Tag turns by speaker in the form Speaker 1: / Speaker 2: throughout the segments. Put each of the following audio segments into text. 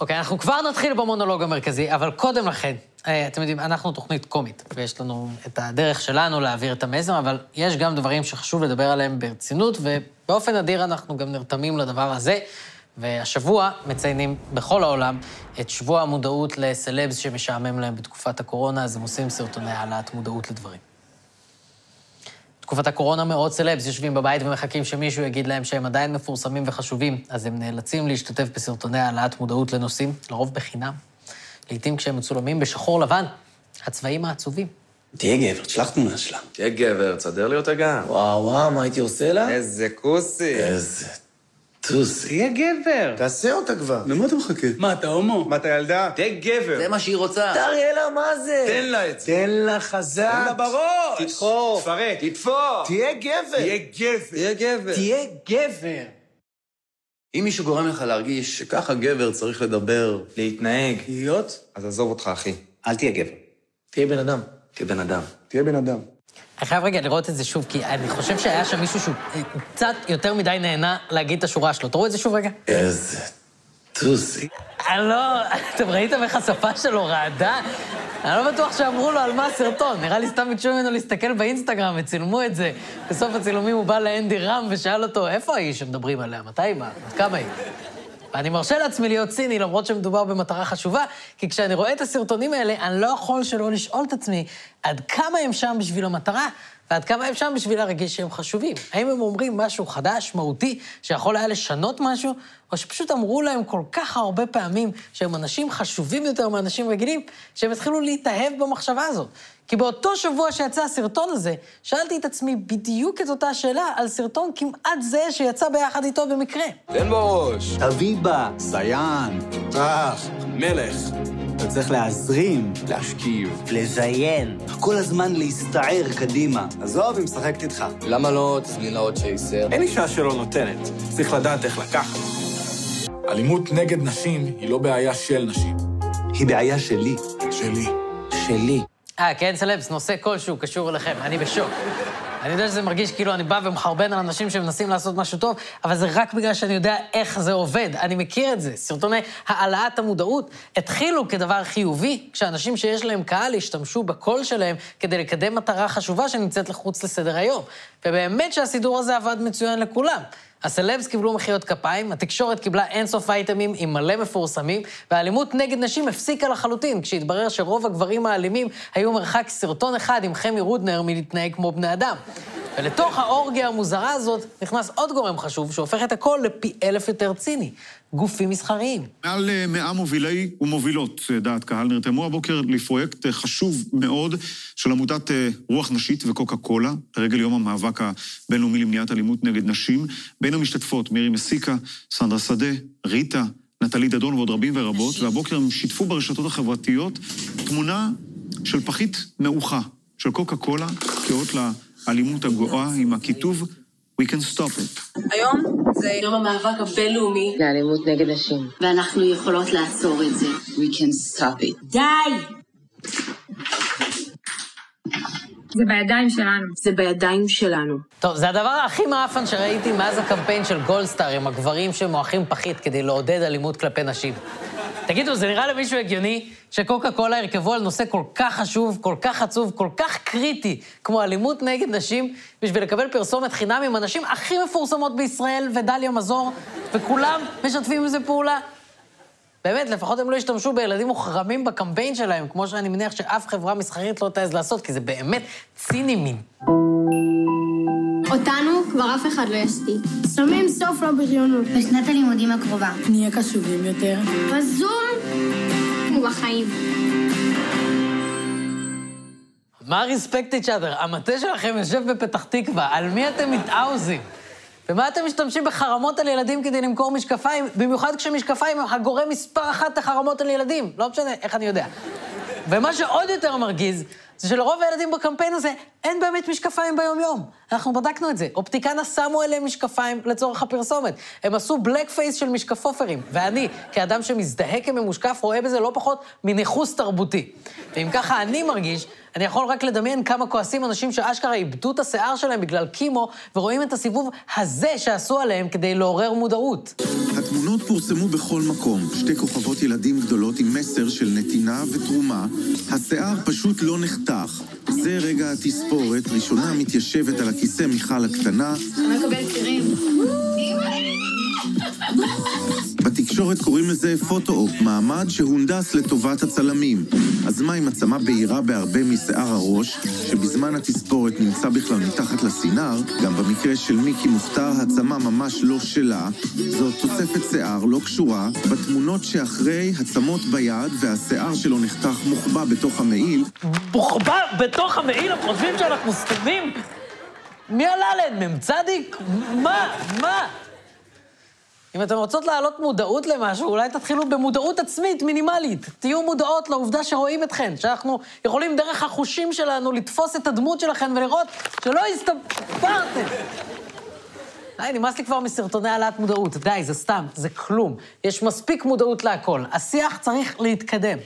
Speaker 1: אוקיי, אנחנו כבר נתחיל במונולוג המרכזי, אבל קודם לכן, אה, אתם יודעים, אנחנו תוכנית קומית, ויש לנו את הדרך שלנו להעביר את המזם, אבל יש גם דברים שחשוב לדבר עליהם ברצינות, ובאופן אדיר אנחנו גם נרתמים לדבר הזה. והשבוע מציינים בכל העולם את שבוע המודעות לסלבס שמשעמם להם בתקופת הקורונה, אז הם עושים סרטוני העלאת מודעות לדברים. תקופת הקורונה מאות סלבס יושבים בבית ומחכים שמישהו יגיד להם שהם עדיין מפורסמים וחשובים, אז הם נאלצים להשתתף בסרטוני העלאת מודעות לנושאים, לרוב בחינם. לעתים כשהם מצולמים בשחור לבן, הצבעים העצובים.
Speaker 2: תהיה גבר, תשלח תמונה שלה.
Speaker 3: תהיה גבר, תסדר לי אותה גם.
Speaker 2: וואו, וואו, מה הייתי עושה לה?
Speaker 3: איזה כוסי.
Speaker 2: איזה טוס.
Speaker 3: תהיה גבר.
Speaker 2: תעשה אותה כבר.
Speaker 3: למה אתה מחכה?
Speaker 4: מה, אתה הומו?
Speaker 3: מה, אתה ילדה? תהיה גבר.
Speaker 2: זה מה שהיא רוצה. תראה לה מה זה.
Speaker 3: תן לה את זה.
Speaker 2: תן לה חזק.
Speaker 3: תן לה בראש.
Speaker 2: תדחוף.
Speaker 3: תפרק. תדפוק.
Speaker 2: תהיה גבר.
Speaker 3: תהיה גבר. תהיה גבר.
Speaker 2: תהיה גבר. אם מישהו גורם לך להרגיש שככה גבר צריך לדבר,
Speaker 3: להתנהג.
Speaker 2: להיות,
Speaker 3: אז עזוב אותך, אחי.
Speaker 2: אל תהיה גבר. תהיה בן אדם.
Speaker 3: תהיה בן אדם.
Speaker 2: תהיה בן אדם.
Speaker 1: אני חייב רגע לראות את זה שוב, כי אני חושב שהיה שם מישהו שהוא אה, קצת יותר מדי נהנה להגיד את השורה שלו. תראו את זה שוב רגע.
Speaker 2: איזה טוסי.
Speaker 1: אני לא... אתם ראיתם איך השפה שלו רעדה? אני לא בטוח שאמרו לו על מה הסרטון. נראה לי סתם ביקשו ממנו להסתכל באינסטגרם, וצילמו את זה. בסוף הצילומים הוא בא לאנדי רם ושאל אותו, איפה היא שמדברים עליה? מתי היא באה? עד כמה היא? ואני מרשה לעצמי להיות ציני, למרות שמדובר במטרה חשובה, כי כשאני רואה את הסרטונים האלה, אני לא יכול שלא לשאול את עצמי עד כמה הם שם בשביל המטרה, ועד כמה הם שם בשביל להרגיש שהם חשובים. האם הם אומרים משהו חדש, מהותי, שיכול היה לשנות משהו, או שפשוט אמרו להם כל כך הרבה פעמים שהם אנשים חשובים יותר מאנשים רגילים, שהם התחילו להתאהב במחשבה הזאת. כי באותו שבוע שיצא הסרטון הזה, שאלתי את עצמי בדיוק את אותה שאלה על סרטון כמעט זהה שיצא ביחד איתו במקרה.
Speaker 3: תן בראש.
Speaker 5: אביבה, זיין,
Speaker 2: טראח.
Speaker 3: מלך.
Speaker 5: אתה צריך להזרים,
Speaker 3: להשכיב.
Speaker 5: לזיין, כל הזמן להסתער קדימה.
Speaker 2: עזוב, היא משחקת איתך.
Speaker 6: למה לא צלילה עוד שייסר?
Speaker 3: אין אישה שלא נותנת. צריך לדעת איך לקחת.
Speaker 7: אלימות נגד נשים היא לא בעיה של נשים,
Speaker 5: היא בעיה שלי.
Speaker 7: שלי.
Speaker 5: שלי.
Speaker 1: אה, כן, סלבס, נושא כלשהו קשור אליכם, אני בשוק. אני יודע שזה מרגיש כאילו אני בא ומחרבן על אנשים שמנסים לעשות משהו טוב, אבל זה רק בגלל שאני יודע איך זה עובד. אני מכיר את זה. סרטוני העלאת המודעות התחילו כדבר חיובי, כשאנשים שיש להם קהל השתמשו בקול שלהם כדי לקדם מטרה חשובה שנמצאת לחוץ לסדר היום. ובאמת שהסידור הזה עבד מצוין לכולם. הסלבס קיבלו מחיאות כפיים, התקשורת קיבלה אינסוף אייטמים עם מלא מפורסמים, והאלימות נגד נשים הפסיקה לחלוטין, כשהתברר שרוב הגברים האלימים היו מרחק סרטון אחד עם חמי רודנר מלהתנהג כמו בני אדם. ולתוך האורגיה המוזרה הזאת נכנס עוד גורם חשוב שהופך את הכל לפי אלף יותר ציני, גופים מסחריים.
Speaker 8: מעל אה, 100 מובילי ומובילות אה, דעת קהל נרתמו הבוקר לפרויקט אה, חשוב מאוד של עמותת אה, רוח נשית וקוקה קולה, לרגל יום המאבק הבינלאומי למניעת אלימות נגד נשים. בין המשתתפות מירי מסיקה, סנדרה שדה, ריטה, נטלי דדון ועוד רבים ורבות, והבוקר הם שיתפו ברשתות החברתיות תמונה של פחית מעוכה של קוקה קולה כאות לאלימות הגואה עם הכיתוב We can stop it.
Speaker 9: היום זה יום המאבק הבינלאומי,
Speaker 10: לאלימות נגד נשים.
Speaker 9: ואנחנו יכולות לעצור את זה.
Speaker 10: We can stop it.
Speaker 9: די!
Speaker 10: זה בידיים שלנו.
Speaker 9: זה בידיים שלנו.
Speaker 1: טוב, זה הדבר הכי מאפן שראיתי מאז הקמפיין של גולדסטאר עם הגברים שמועכים פחית כדי לעודד אלימות כלפי נשים. תגידו, זה נראה למישהו הגיוני שקוקה קולה ירכבו על נושא כל כך חשוב, כל כך עצוב, כל כך קריטי, כמו אלימות נגד נשים, בשביל לקבל פרסומת חינם עם הנשים הכי מפורסמות בישראל ודליה מזור, וכולם משתפים עם זה פעולה? באמת, לפחות הם לא השתמשו בילדים מוחרמים בקמפיין שלהם, כמו שאני מניח שאף חברה מסחרית לא תעז לעשות, כי זה באמת ציני מין.
Speaker 11: אותנו כבר אף אחד לא יסתיק. שמים סוף לבריונות. בשנת הלימודים הקרובה.
Speaker 10: נהיה קשובים יותר.
Speaker 11: בזום ובחיים.
Speaker 1: מה ריספקט איץ' אדר? המטה שלכם יושב בפתח תקווה, על מי אתם מתאוזים? ומה אתם משתמשים בחרמות על ילדים כדי למכור משקפיים, במיוחד כשמשקפיים הם הגורם מספר אחת לחרמות על ילדים? לא משנה, איך אני יודע. ומה שעוד יותר מרגיז, זה שלרוב הילדים בקמפיין הזה אין באמת משקפיים ביום-יום. אנחנו בדקנו את זה. אופטיקנה שמו עליהם משקפיים לצורך הפרסומת. הם עשו בלק פייס של משקפופרים, ואני, כאדם שמזדהה כממושקף, רואה בזה לא פחות מניכוס תרבותי. ואם ככה אני מרגיש, אני יכול רק לדמיין כמה כועסים אנשים שאשכרה איבדו את השיער שלהם בגלל קימו, ורואים את הסיבוב הזה שעשו עליהם כדי לעורר מודעות.
Speaker 4: התמונות פורסמו בכל מקום, שתי כוכבות ילדים גדולות עם מסר של נתינה ותרומה. השיער פשוט לא נחתך. זה רגע התספורת, ראשונה מתיישבת על הכיסא מיכל הקטנה.
Speaker 12: אני מקבל צירים.
Speaker 4: בתקשורת קוראים לזה פוטו-אופ, מעמד שהונדס לטובת הצלמים. אז מה עם עצמה בהירה בהרבה משיער הראש, שבזמן התספורת נמצא בכלל מתחת לסינר, גם במקרה של מיקי מוכתר, העצמה ממש לא שלה, זו תוספת שיער לא קשורה, בתמונות שאחרי עצמות ביד והשיער שלו נחתך מוחבא בתוך המעיל,
Speaker 1: בוחבא בתוך המעיל, הם חושבים שאנחנו סתומים? מי עלה עליהם? מ"צ? מה? מה? אם אתן רוצות להעלות מודעות למשהו, אולי תתחילו במודעות עצמית מינימלית. תהיו מודעות לעובדה שרואים אתכן, שאנחנו יכולים דרך החושים שלנו לתפוס את הדמות שלכן ולראות שלא הסתפרתם. די, נמאס לי כבר מסרטוני העלאת מודעות. די, זה סתם, זה כלום. יש מספיק מודעות להכל. השיח צריך להתקדם.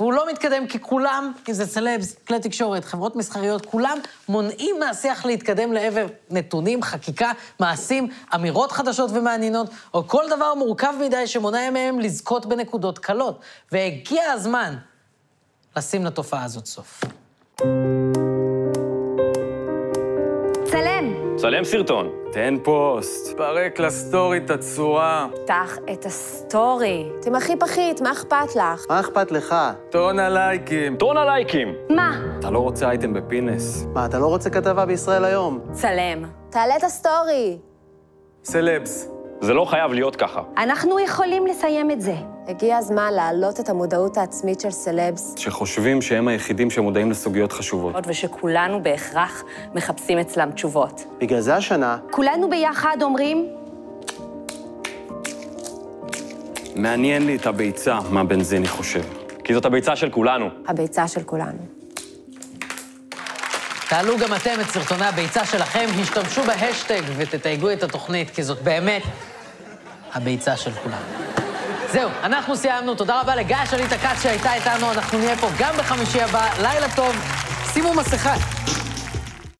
Speaker 1: והוא לא מתקדם כי כולם, אם זה סלבס, כלי תקשורת, חברות מסחריות, כולם מונעים מהשיח להתקדם לעבר נתונים, חקיקה, מעשים, אמירות חדשות ומעניינות, או כל דבר מורכב מדי שמונע מהם לזכות בנקודות קלות. והגיע הזמן לשים לתופעה הזאת סוף.
Speaker 13: צלם,
Speaker 14: צלם סרטון, תן פוסט, פרק לסטורי את הצורה,
Speaker 13: פתח את הסטורי. תמחי פחית, מה אכפת לך?
Speaker 14: מה אכפת לך? טון הלייקים. טון הלייקים!
Speaker 13: מה?
Speaker 14: אתה לא רוצה אייטם בפינס. מה, אתה לא רוצה כתבה בישראל היום?
Speaker 13: צלם. תעלה את הסטורי.
Speaker 14: סלבס. זה לא חייב להיות ככה.
Speaker 13: אנחנו יכולים לסיים את זה. הגיע הזמן להעלות את המודעות העצמית של סלבס.
Speaker 14: שחושבים שהם היחידים שמודעים לסוגיות חשובות.
Speaker 13: ושכולנו בהכרח מחפשים אצלם תשובות.
Speaker 6: בגלל זה השנה...
Speaker 13: כולנו ביחד אומרים,
Speaker 14: מעניין לי את הביצה, מה בנזיני חושב. כי זאת הביצה של כולנו.
Speaker 13: הביצה של כולנו.
Speaker 1: תעלו גם אתם את סרטוני הביצה שלכם, השתמשו בהשטג ותתייגו את התוכנית, כי זאת באמת הביצה של כולם. זהו, אנחנו סיימנו. תודה רבה לגיא שליט הכץ שהייתה איתנו, אנחנו נהיה פה גם בחמישי הבא. לילה טוב, שימו מסכה.